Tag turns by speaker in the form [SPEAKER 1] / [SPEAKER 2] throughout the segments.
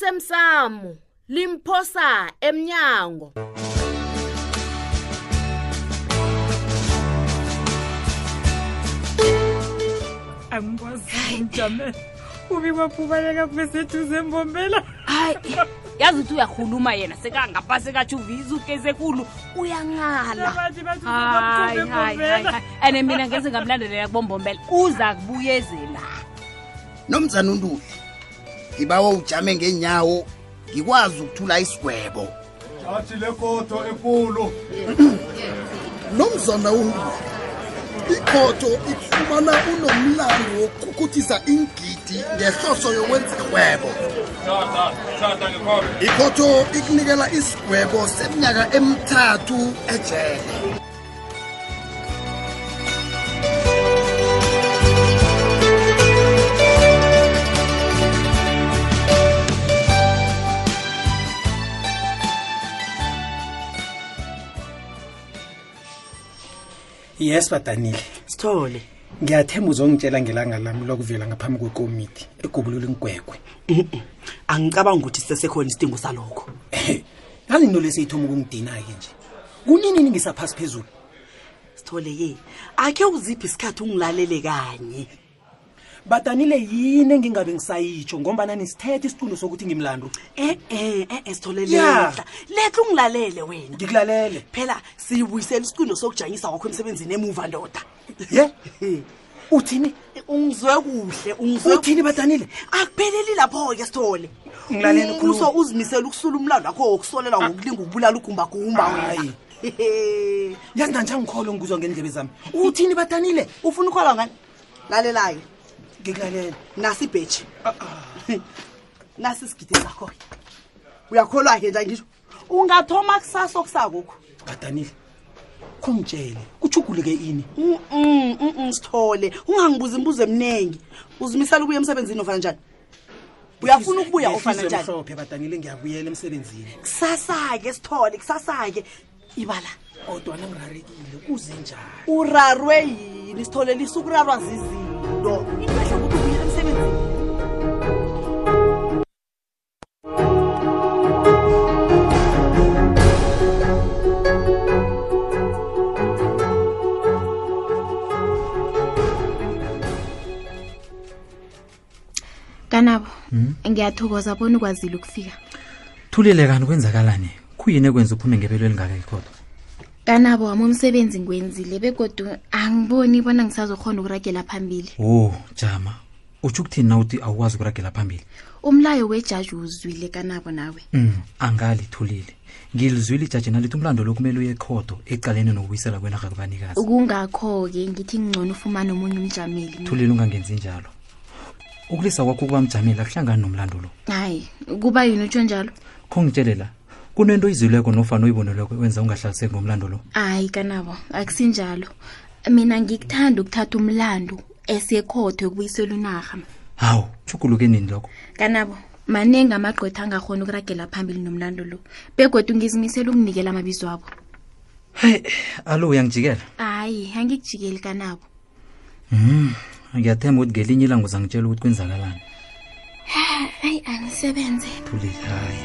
[SPEAKER 1] osemsamo limphosa emnyango
[SPEAKER 2] angikwazile mjamela ubikwaphubeleka kube seduze embombela
[SPEAKER 3] hayi yazi ukuthi uyakhuluma yena sekangapha sekathi uviza ukesekulu uyanqala
[SPEAKER 2] abathi bathi
[SPEAKER 3] hayi
[SPEAKER 2] uzozamthumba
[SPEAKER 3] hayi
[SPEAKER 2] embombela
[SPEAKER 3] hayi and mina ngeze ngamlandelela kubombombela uza kubuyezela
[SPEAKER 4] nomzana uNtuhle ngibawa ujame ngenyawo ngikwazi ukuthula isigwebo
[SPEAKER 5] athi lekotho ekulu
[SPEAKER 6] nomzana uNduli ikhotho ifumana unomlando wokukhukuthisa ingidi ngehloso yokwenza irhwebo
[SPEAKER 5] Ah, tata ngikhobe
[SPEAKER 6] ikhotho ikunikela isigwebo seminyaka emithathu ejele
[SPEAKER 7] yes badanile
[SPEAKER 8] sithole
[SPEAKER 7] ngiyathemba uzongitshela ngelanga lami lokuvela ngaphambi kwekomiti egubulula ingwegwe
[SPEAKER 8] Mm-mm. angicabanga ukuthi sisesekhona isidingo salokho
[SPEAKER 7] yazi into lesiyithoma ukungidina-ke nje kuninini ngisaphasi phezulu
[SPEAKER 8] sithole ye akhe uziphi isikhathi ungilalele kanye
[SPEAKER 7] badanile yini engingabe ngisayitsho ngombana nisithethe isicundo sokuthi ngimlandu
[SPEAKER 8] e-e e-e sithole
[SPEAKER 7] Yeah.
[SPEAKER 8] letla letla ungilalele wena
[SPEAKER 7] ngikulalele
[SPEAKER 8] phela siyibuyisela isiqindo sokujanyisa kwakho emsebenzini emuva ndoda
[SPEAKER 7] ye uthini
[SPEAKER 8] ungizwe kuhle ungizwe
[SPEAKER 7] uthini badanile
[SPEAKER 8] akupheleli lapho-ke sithole
[SPEAKER 7] Ngilalele ukhuluma.
[SPEAKER 8] umbuso uzimisele ukusula umlando wakho wokusolelwa ngokulinga ukubulala ugumbagumba
[SPEAKER 7] Hayi.
[SPEAKER 8] wena Hehe.
[SPEAKER 7] yazi nanjangikholo ngikuzwa ngendlebe zami uthini badanile
[SPEAKER 8] ufuna ukholwa ngani lalelayo
[SPEAKER 7] ngikulalele
[SPEAKER 8] nasi ibheji nasi isigidi sakho-ke uyakholwa-ke nje angisho ungathoma kusasa okusakokho
[SPEAKER 7] badanile khongitshele kuchuguleke ini
[SPEAKER 8] Mm-mm, mm-mm, sithole ungangibuza imibuzo eminingi uzimisela ukubuya emsebenzini ofana njani uyafuna ukubuya ofana
[SPEAKER 7] Ngehliziyo
[SPEAKER 8] njani
[SPEAKER 7] emhlophe badanile ngiyabuyela emsebenzini
[SPEAKER 8] kusasa-ke sithole kusasa-ke ibala
[SPEAKER 7] kodwa nangirarekile kuze njani
[SPEAKER 8] urarwe yini sitholelisa ukurarwa zizinto into ehle ukuthi ubuyele emsebenzini
[SPEAKER 9] kanabo ngiyathokoza bona ukwazile ukufika
[SPEAKER 10] thulile kanti kwenzakalani khuyini ekwenza uphume ngebelo elingaka ikhotho
[SPEAKER 9] kanabo wami umsebenzi ngiwenzile begodu angiboni bona ngisazokhona ukuragela phambili
[SPEAKER 10] wo jama utsho ukuthini na uthi awukwazi ukuragela phambili
[SPEAKER 9] umlayo wejaji uzwile kanabo nawe
[SPEAKER 10] um angali thulile ngilizwile ijaji nalithi umlando lo kumele uye ekhodo ecaleni nokubuyisela kwenarha kubanikazi
[SPEAKER 9] kungakho-ke ngithi ngcono ufumane omunye umjameli
[SPEAKER 10] thulile ungangenzi njalo ukulisa kwakho ukuba mjamile akuhlangani nomlando lo
[SPEAKER 9] hayi kuba yini utsho njalo
[SPEAKER 10] khongitshelela kunento izileko nofana uyiboneleko wenza ungahlaliseki ngomlando lo
[SPEAKER 9] hayi kanabo akusinjalo mina ngikuthanda ukuthatha umlando esekhotho yokubuyisela unarha
[SPEAKER 10] hawu tshuguluke nini lokho
[SPEAKER 9] kanabo maningi amagqwetha angakhona ukuragela phambili nomlando lo begodu ngizimisela ukunikela amabizo abo
[SPEAKER 10] heyi alo uyangijikela
[SPEAKER 9] hayi angikujikeli kanabo
[SPEAKER 10] um ngiyathemba ukuthi ngelinye ilanga uzangitshela ukuthi kwenzakalani
[SPEAKER 9] hayi angisebenze
[SPEAKER 10] thulile hayi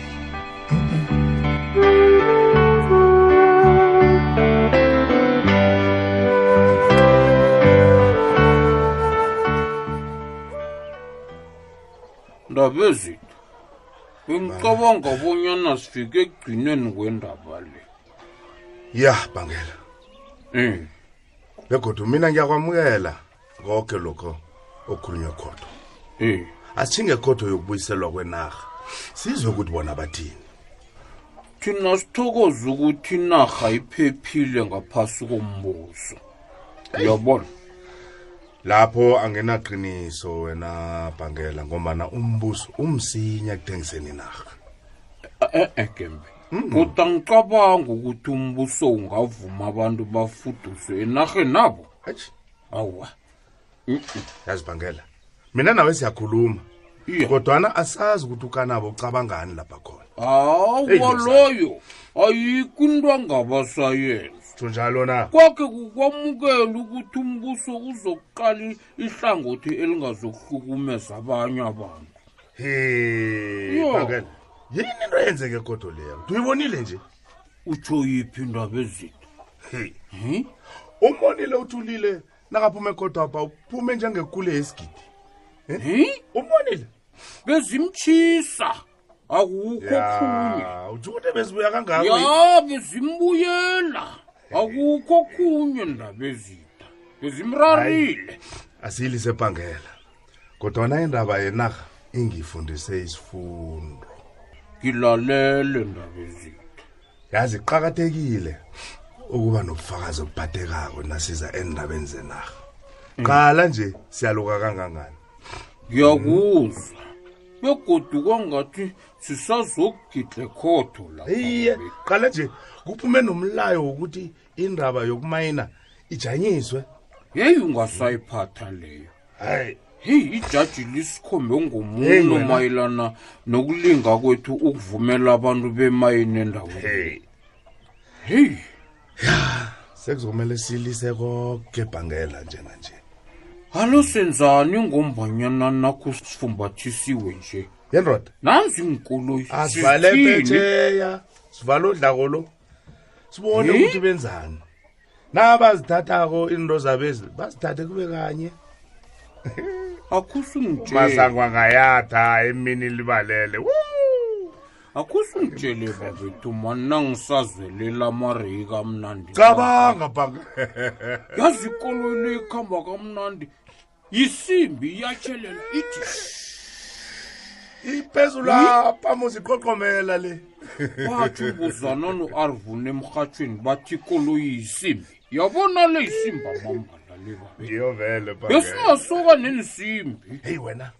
[SPEAKER 11] ndaba ezitha bengicabanga bonyana sifike ekugcineni kwendaba le
[SPEAKER 5] ya bangela
[SPEAKER 11] um
[SPEAKER 5] begodu mina ngiyakwamukela konke lokho okhulunywa khodo
[SPEAKER 11] um
[SPEAKER 5] asithinge khodo yokubuyiselwa kwenarha sizwe ukuthi bona bathini
[SPEAKER 11] thina sithokoze ukuthi inarha iphephile ngaphasi kombuso uyabona
[SPEAKER 5] lapho angenaqiniso wena bangela ngombana umbuso umsinya ekuthengiseni inarha
[SPEAKER 11] e-e gembe E-, kodwa ngicabanga ukuthi umbuso ungavuma abantu bafuduswe enarheni nabo
[SPEAKER 5] Hatshi,
[SPEAKER 11] awa
[SPEAKER 5] yazi bangela mina nawe siyakhuluma kodwana asazi ukuthi ukanabo ucabangani lapha khona
[SPEAKER 11] hawa
[SPEAKER 5] Yosana.
[SPEAKER 11] loyo ayikho into angabasayenza
[SPEAKER 5] kunjalo na
[SPEAKER 11] kwakhe kukwamukela ukuthi umbuso uzokuqala ihlangothi elingazokuhlukumeza abanye abantu
[SPEAKER 5] he
[SPEAKER 11] yo
[SPEAKER 5] bangela yini into yenzeke ekodo leyo uyibonile nje
[SPEAKER 11] utsho yiphi indaba ezinto
[SPEAKER 5] heyi umonile uthulile nakaphuma ekodwapha uphume njengekule yesigidi umonile
[SPEAKER 11] bezimtshisa akukho khunye
[SPEAKER 5] utsho ukuthi bezibuya kangako
[SPEAKER 11] ya bezimbuyela akukho khunye ndaba ezida bezimrarile
[SPEAKER 5] asiyilise ebhangela kodwana indaba yenarha ingifundise isifundo
[SPEAKER 11] ngilalele ndaba ezida
[SPEAKER 5] yazi iqakathekile ukuba nobufakazi obuphathekako nasiza endabeni zenarha qala nje siyaluka kangangani
[SPEAKER 11] ngiyakuzwa begodu kwangathi sisazokugidla ekhotho la
[SPEAKER 5] iye qala nje kuphume nomlayo wokuthi indaba yokumayina ijanyiswe
[SPEAKER 11] yeyi ungasayiphatha leyo
[SPEAKER 5] hayi
[SPEAKER 11] heyi ijaji lisikhombe
[SPEAKER 5] Hey,
[SPEAKER 11] ngomuno
[SPEAKER 5] wena.
[SPEAKER 11] mayelana nokulinga kwethu ukuvumela abantu bemayini endaweni heyi
[SPEAKER 5] sekuzokumele silise koke ebhangela njenganje
[SPEAKER 11] alo senzani ngombanyana nakho sifumbathisiwe nje
[SPEAKER 5] yendoda
[SPEAKER 11] nanzi inkoloyi
[SPEAKER 5] asivale
[SPEAKER 11] Sizithini?
[SPEAKER 5] phetheya sivale udlako lo sibone
[SPEAKER 11] Hi?
[SPEAKER 5] ukuthi benzani nabazithathako into zabezi bazithathe kube kanye
[SPEAKER 11] akusungitsheli
[SPEAKER 5] masangwa ngayatha emini libalele
[SPEAKER 11] akusungitshele babethu mani nangisazwelela amareki amnandi
[SPEAKER 5] cabanga bhanga
[SPEAKER 11] yazi ikoloyi le ikhamba kamnandi yisimbi iyatshelela ithi
[SPEAKER 5] iphezulu apha muziqoqomela le
[SPEAKER 11] batsho ubuzana no-arvun emrhatshweni bathi ikoloyi yisimbi yabona le yisimbi amambala le babethu
[SPEAKER 5] yiyo vele
[SPEAKER 11] besingasuka nensimbi
[SPEAKER 5] heyi wena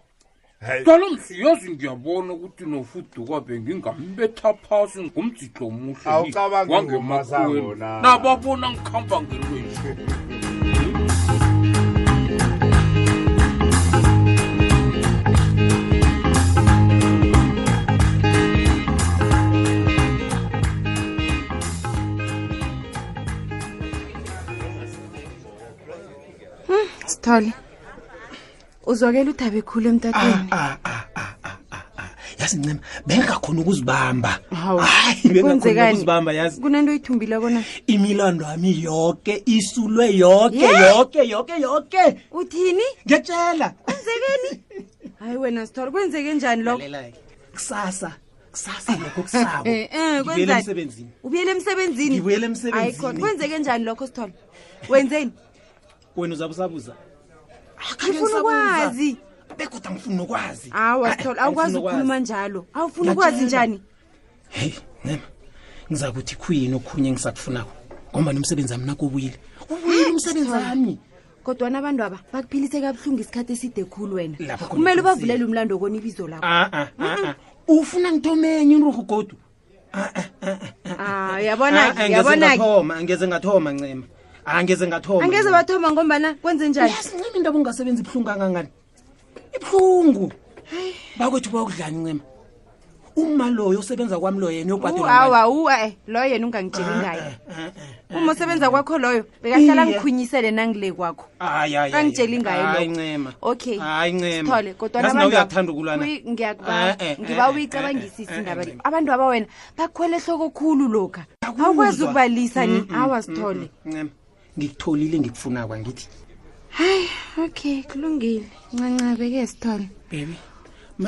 [SPEAKER 11] dalomsi yazi ngiyabona ukuthi nofuduka bengingambetha phasi ngumdidlo omuhle
[SPEAKER 5] Awucabangi ngomasango la.
[SPEAKER 11] nababona ngikhamba ngelwethu
[SPEAKER 12] sithole uzwakela uthabe khulu emtatweni
[SPEAKER 7] yazi ncema bengakhona ukuzibamba
[SPEAKER 12] hawu
[SPEAKER 7] Hayi, bengakhoni nokuzibamba, yazi.
[SPEAKER 12] kunento oyithumbile kona
[SPEAKER 7] imilando yami yoke isulwe yoke
[SPEAKER 12] Ye?
[SPEAKER 7] yoke yoke yoke
[SPEAKER 12] uthini
[SPEAKER 7] ngiyatshela
[SPEAKER 12] kwenzekeni hayi wena sithole kwenzeke njani lokho
[SPEAKER 7] kusasa kusasa lokho kusako
[SPEAKER 12] Eh, eh,
[SPEAKER 7] ngibuyele
[SPEAKER 12] kwenzani?
[SPEAKER 7] emsebenzini
[SPEAKER 12] ubuyele emsebenzini
[SPEAKER 7] Ngibuyele emsebenzini.
[SPEAKER 12] Hayi, khona. kwenzeke njani lokho sithole wenzeni
[SPEAKER 7] wena uzabe usabuza
[SPEAKER 12] ngifuna ukwazi
[SPEAKER 7] begoda ngifuna nokwazi
[SPEAKER 12] hawa sithole
[SPEAKER 7] Hayi,
[SPEAKER 12] awukwazi
[SPEAKER 7] angifuni ukwazi.
[SPEAKER 12] ukukhuluma njalo awufuna ukwazi
[SPEAKER 7] Ngiyatshela.
[SPEAKER 12] njani
[SPEAKER 7] ngiza kuthi khuyini okhunye engisakufunako ngoba nomsebenzi wami nakubuyile ubuyile umsebenzi wami
[SPEAKER 12] kodwana abantu aba bakuphilise kabuhlungu isikhathi eside khulu wena
[SPEAKER 7] Lapho khona Ah,
[SPEAKER 12] kumele
[SPEAKER 7] kunzima.
[SPEAKER 12] ubavulele umlando kona ibizo lakho
[SPEAKER 7] a-a a-a ufuna ngithomenye inruhu godu
[SPEAKER 12] Ah, yabona
[SPEAKER 7] Ah,
[SPEAKER 12] ke
[SPEAKER 7] angeze
[SPEAKER 12] yabona ke
[SPEAKER 7] ngathoma angeze ngathoma ncema angeze ngathoma
[SPEAKER 12] angeze bathoma ngombana kwenze njani
[SPEAKER 7] Yazi ncema indaba ungasebenzi ibuhlungu kangangani ibuhlungu bakwethu bayokudlani ncema uma loyo osebenza kwami lo yena Ah,
[SPEAKER 12] awa uwa e loyo yena ungangitsheli ngayo uma usebenza kwakho loyo bekahlala
[SPEAKER 7] Iye.
[SPEAKER 12] ngikhunyisele nangile kwakho Kangitsheli ngayo lokho.
[SPEAKER 7] ncema
[SPEAKER 12] okay
[SPEAKER 7] hayi ncema
[SPEAKER 12] sithole kodwana
[SPEAKER 7] Yazi nawe
[SPEAKER 12] abantu-
[SPEAKER 7] uyakuthanda ukulwana
[SPEAKER 12] Kuyi- ngiyakubawa
[SPEAKER 7] Eh, eh,
[SPEAKER 12] ngiba
[SPEAKER 7] eh, eh,
[SPEAKER 12] uyicabangisisa
[SPEAKER 7] eh,
[SPEAKER 12] indaba le
[SPEAKER 7] eh,
[SPEAKER 12] abantu aba wena bakhwela ehloko khulu lokha awukwazi
[SPEAKER 7] Uzwa.
[SPEAKER 12] ukubalisa ni
[SPEAKER 7] Mm-mm,
[SPEAKER 12] awa sithole
[SPEAKER 7] mm-mm, ncema ngikutholile ngikufuna kwangithi
[SPEAKER 12] hayi
[SPEAKER 7] mm.
[SPEAKER 12] okay kulungile ncancabeke sithole
[SPEAKER 7] baby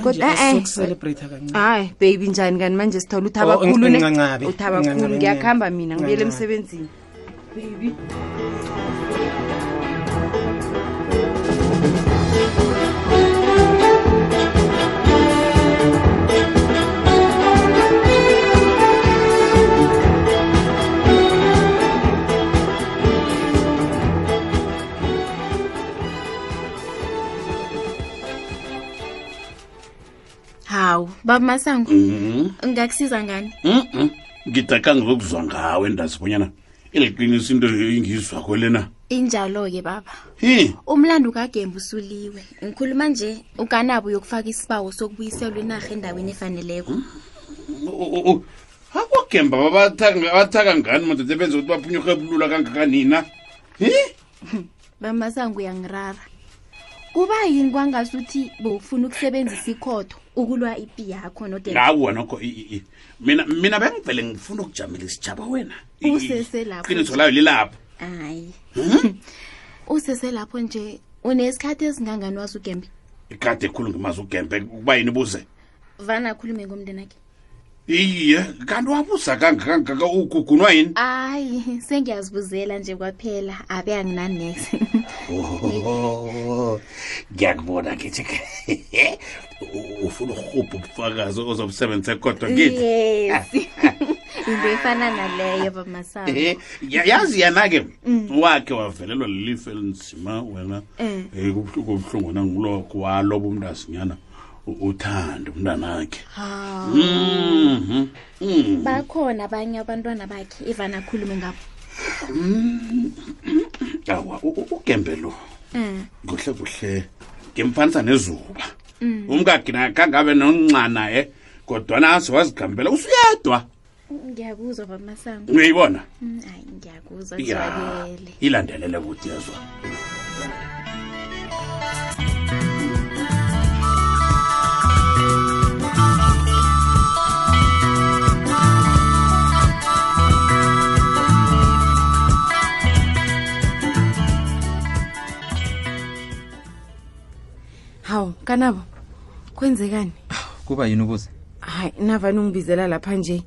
[SPEAKER 12] Kodwa, eh, eh.
[SPEAKER 2] Oh,
[SPEAKER 7] manje-celebrate kancane
[SPEAKER 12] hayi baby njani kanti manje sithole uthaba
[SPEAKER 7] Oh,
[SPEAKER 12] khulu ne-
[SPEAKER 7] ncancabe.
[SPEAKER 12] uthaba khulu
[SPEAKER 7] Ncancabe,
[SPEAKER 12] ngiyakuhamba mina ngibuyele
[SPEAKER 7] ncancabe.
[SPEAKER 12] emsebenzini baby
[SPEAKER 9] hawu baba masango
[SPEAKER 13] Mhm.
[SPEAKER 9] ngingakusiza ngani
[SPEAKER 13] Mhm. ngidaka ngizokuzwa ngawe ndazibonyana iliqinisa into engizwa kwelena
[SPEAKER 9] injalo-ke baba
[SPEAKER 13] hi
[SPEAKER 9] umlando kagembe usuliwe ngikhuluma nje ukanabo uyokufaka isibawo sokubuyiselwa inarha endaweni efaneleko
[SPEAKER 13] akwagemba babathaka ngani madoda benza ukuthi baphunyurhe bulula kangakanina
[SPEAKER 9] baba masango uyangirara kuba yini kwangasuthi bewufuna ukusebenzisa ikhotho ukulwa ipi yakho nodade
[SPEAKER 13] nawu wanokho i- i- i- mina mina bengivele ngifuna ukujamela isitshaba wena I- i-
[SPEAKER 9] useselapho
[SPEAKER 13] iqiniso layo lilapho
[SPEAKER 9] hayi useselapho nje unesikhathi esingangani wazi ugembe
[SPEAKER 13] ikade ekhulu ngimazi ugembe ukuba yini buze
[SPEAKER 9] vana akhulume ngomndenakhe
[SPEAKER 13] iye kanti wabuza kangakangaka ugugunwa yini
[SPEAKER 9] hayi sengiyazibuzela nje kwaphela abe anginanex
[SPEAKER 13] Oh, ngiyakubona ngithi ke u- ufuna urhubha ubufakazi ozobusebenzisa kodwa ngithi
[SPEAKER 9] yes into efana naleyo bamasango
[SPEAKER 13] Eh, ya- yazi yana-ke
[SPEAKER 9] Mm.
[SPEAKER 13] wakhe wavelelwa lilifu elinzima wena
[SPEAKER 9] Eh.
[SPEAKER 13] um kubuhlungu obuhlungu wena ngulokho waloba umntazinyana u- uthande umntanakhe
[SPEAKER 9] Ha.
[SPEAKER 13] Mhm, mhm.
[SPEAKER 9] bakhona abanye abantwana bakhe ivana akhulume ngabo
[SPEAKER 13] awa u- u- ugembe lo
[SPEAKER 9] Mm,
[SPEAKER 13] kuhle kuhle ngimfanisa nezuba
[SPEAKER 9] mm.
[SPEAKER 13] umkaginakhangabe nonxana ye kodwana aze wazigambela usuyedwa
[SPEAKER 9] ngiyakuzwa bamasango
[SPEAKER 13] uyayibona
[SPEAKER 9] Mm, hayi ngiyakuzwa
[SPEAKER 13] ya
[SPEAKER 9] jwabele
[SPEAKER 13] ilandelele kuthi yazwa
[SPEAKER 2] hawu kanabo kwenzekani
[SPEAKER 10] kuba yini ubuze
[SPEAKER 2] hayi navani ungibizela lapha nje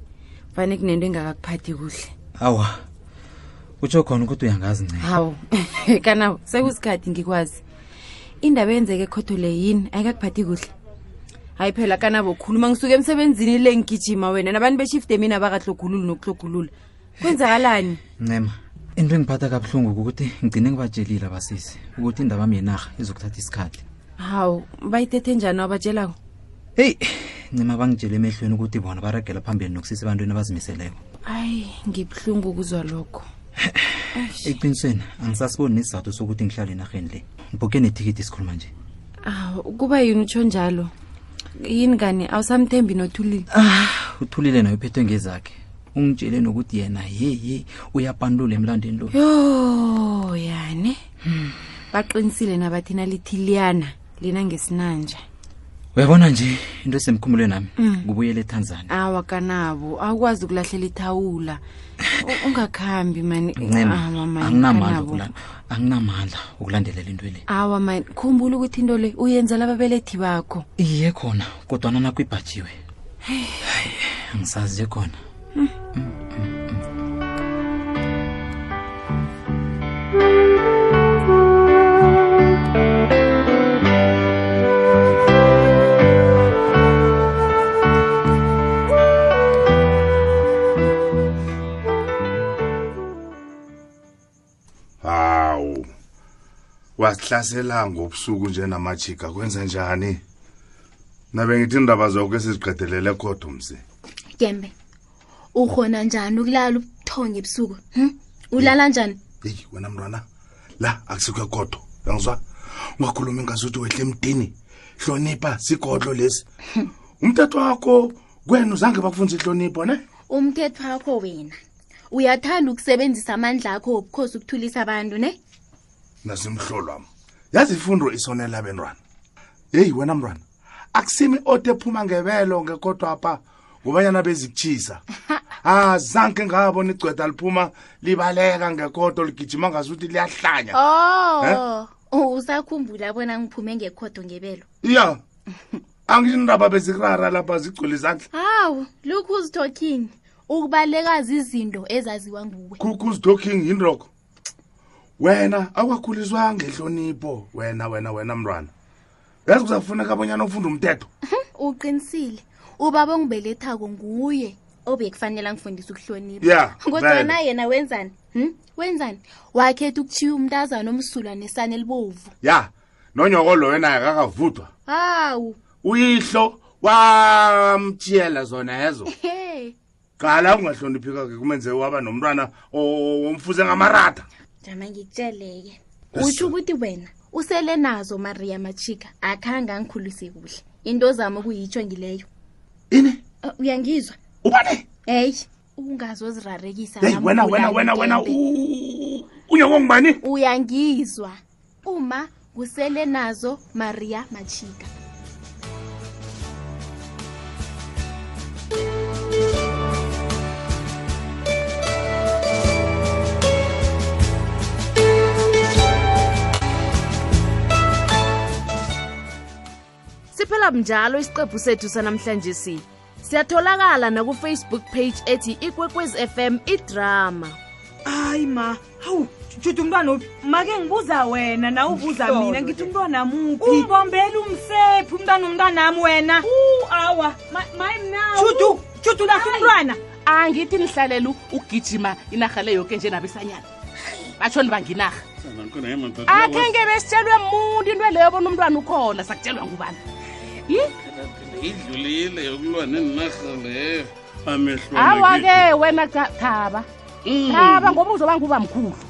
[SPEAKER 2] fane kunento engakakuphathi kuhle
[SPEAKER 10] awa utsho khona kodwa uyangazi ncema
[SPEAKER 2] hawu kanabo sekusikhathi ngikwazi indaba eyenzeke ekhotho le yini ayikakuphathi kuhle hayi phela kanabo khuluma ngisuke emsebenzini le ngigijima wena nabantu beshifte mina abakahlogululi nokuhlogulula kwenzakalani
[SPEAKER 10] ncema into engiphatha kabuhlungu kukuthi ngigcine ngibatshelile abasisi ukuthi indaba yami yenarha izokuthatha isikhathi
[SPEAKER 2] hawu bayithethe njani wabatshelako
[SPEAKER 10] heyi ncema bangitshele emehlweni ukuthi bona baragela phambili nokusisa ebantwini abazimiseleko
[SPEAKER 2] hayi ngibuhlungu ukuzwa lokho
[SPEAKER 10] eqinisweni angisasiboni nesizathu sokuthi ngihlale enarheni le ngibhuke nethikithi sikhuluma nje
[SPEAKER 2] aw kuba yini utsho njalo yini kani awusamthembi nothulile
[SPEAKER 10] uthulile naye uphethwe ngezakhe ungitshele nokuthi yena ye ye uyapandula emlandweni lo
[SPEAKER 2] yo yani baqinisile nabathina lithiliyana lina ngesinanja
[SPEAKER 10] uyabona nje into esemkhumulweni nami
[SPEAKER 2] Mm.
[SPEAKER 10] ngubuyele etanzania
[SPEAKER 2] awa kanabo awukwazi ukulahlela ithawula U- ungakhambi mani
[SPEAKER 10] ncema
[SPEAKER 2] Awa, mani,
[SPEAKER 10] anginamandla
[SPEAKER 2] kanabo.
[SPEAKER 10] okula- anginamandla okulandelela into le
[SPEAKER 2] awa mani khumbula ukuthi into le uyenzela ababelethi bakho
[SPEAKER 10] iye khona kodwana nakwibhajiwe Hayi, angisazi nje khona
[SPEAKER 5] hawu wasihlasela ngobusuku nje namajika kwenza njani nabe ngithi indaba zonke siziqedelele kodwa mse
[SPEAKER 9] gembe ukhona njani ukulala ubuthonye ebusuku hm? ulala njani
[SPEAKER 5] eyi wena mntwana la akusikho kodwa yangizwa ungakhulumi ngazuthi wehle emdini hlonipha sigodlo lesi umthetho wakho kwena uzange bakufundisa ihlonipho ne
[SPEAKER 9] umthetho wakho wena uyathanda ukusebenzisa amandla akho wobukhosi ukuthulisa abantu ne
[SPEAKER 5] nasimhlolwam yazi ifundo isonela bentwana yeyi wena mntwana akusimi oto ephuma ngebelo ngekodwa pha ngobanyana bezikutshisa azanke ngabo nicweda liphuma libaleka ngekodo ligijima ngasuthi liyahlanya
[SPEAKER 9] oh usakhumbula bona ngiphume ngekhodo ngebelo
[SPEAKER 5] ya angindaba bezikurara lapha zigcwele izandla
[SPEAKER 9] hawu look who's talking ukubalekazi izinto ezaziwa nguwe
[SPEAKER 5] kukus talking yindroko wena akwakhuliswa ngenhlonipho wena wena wena mntwana yazi kuzafuneka abanyana ufunda umthetho
[SPEAKER 9] uqinisile ubaba ongibelethako nguye obekufanele angifundise ukuhlonipha
[SPEAKER 5] Yeah,
[SPEAKER 9] kodwana
[SPEAKER 5] vele.
[SPEAKER 9] yena wenzani hm? wenzani wakhetha ukuthiya umntazana omsulwa nesane elibovu
[SPEAKER 5] ya nonyoko lo wena akakavuthwa
[SPEAKER 9] hawu
[SPEAKER 5] uyihlo wamtshiyela zona ezo
[SPEAKER 9] he
[SPEAKER 5] qala ungahloniphika-ke kumenze waba nomntwana omfuze ngamarada
[SPEAKER 9] jama ngikutsheleke
[SPEAKER 5] Yes.
[SPEAKER 9] utsho ukuthi wena usele nazo maria machika akhange angikhulise kuhle into zami ukuyitsho ngileyo
[SPEAKER 5] ini
[SPEAKER 9] uyangizwa
[SPEAKER 5] ubane
[SPEAKER 9] heyi ungazozirarekisa
[SPEAKER 5] Hey, wena, wena, wena, wena, unyoko ngubani
[SPEAKER 9] uyangizwa uma kusele nazo maria machika
[SPEAKER 2] sisibukela njalo isiqephu sethu sanamhlanje si siyatholakala nakufacebook page ethi ikwekwez fm idrama
[SPEAKER 14] hayi ma hawu juda umntwana uphi make ngibuza wena nawe ubuza
[SPEAKER 2] Ihlolo
[SPEAKER 14] mina
[SPEAKER 2] le.
[SPEAKER 14] ngithi umntwana muphi umbombela umsephi umntwana umntwanami wena awa judu judu lahle umntwana
[SPEAKER 8] angithi nihlalela ugijima inarha le yoke nje nabesanyana batshoni banginarha akhenge besitshelwe muntu into leyo bona umntwana ukhona sakutshelwa ngubani yi
[SPEAKER 15] idlulile yokulwa nenarha leyo amehlo Mm.
[SPEAKER 8] awa-ke wena Tha- thaba thaba ngoba uzoba nguba mkhulu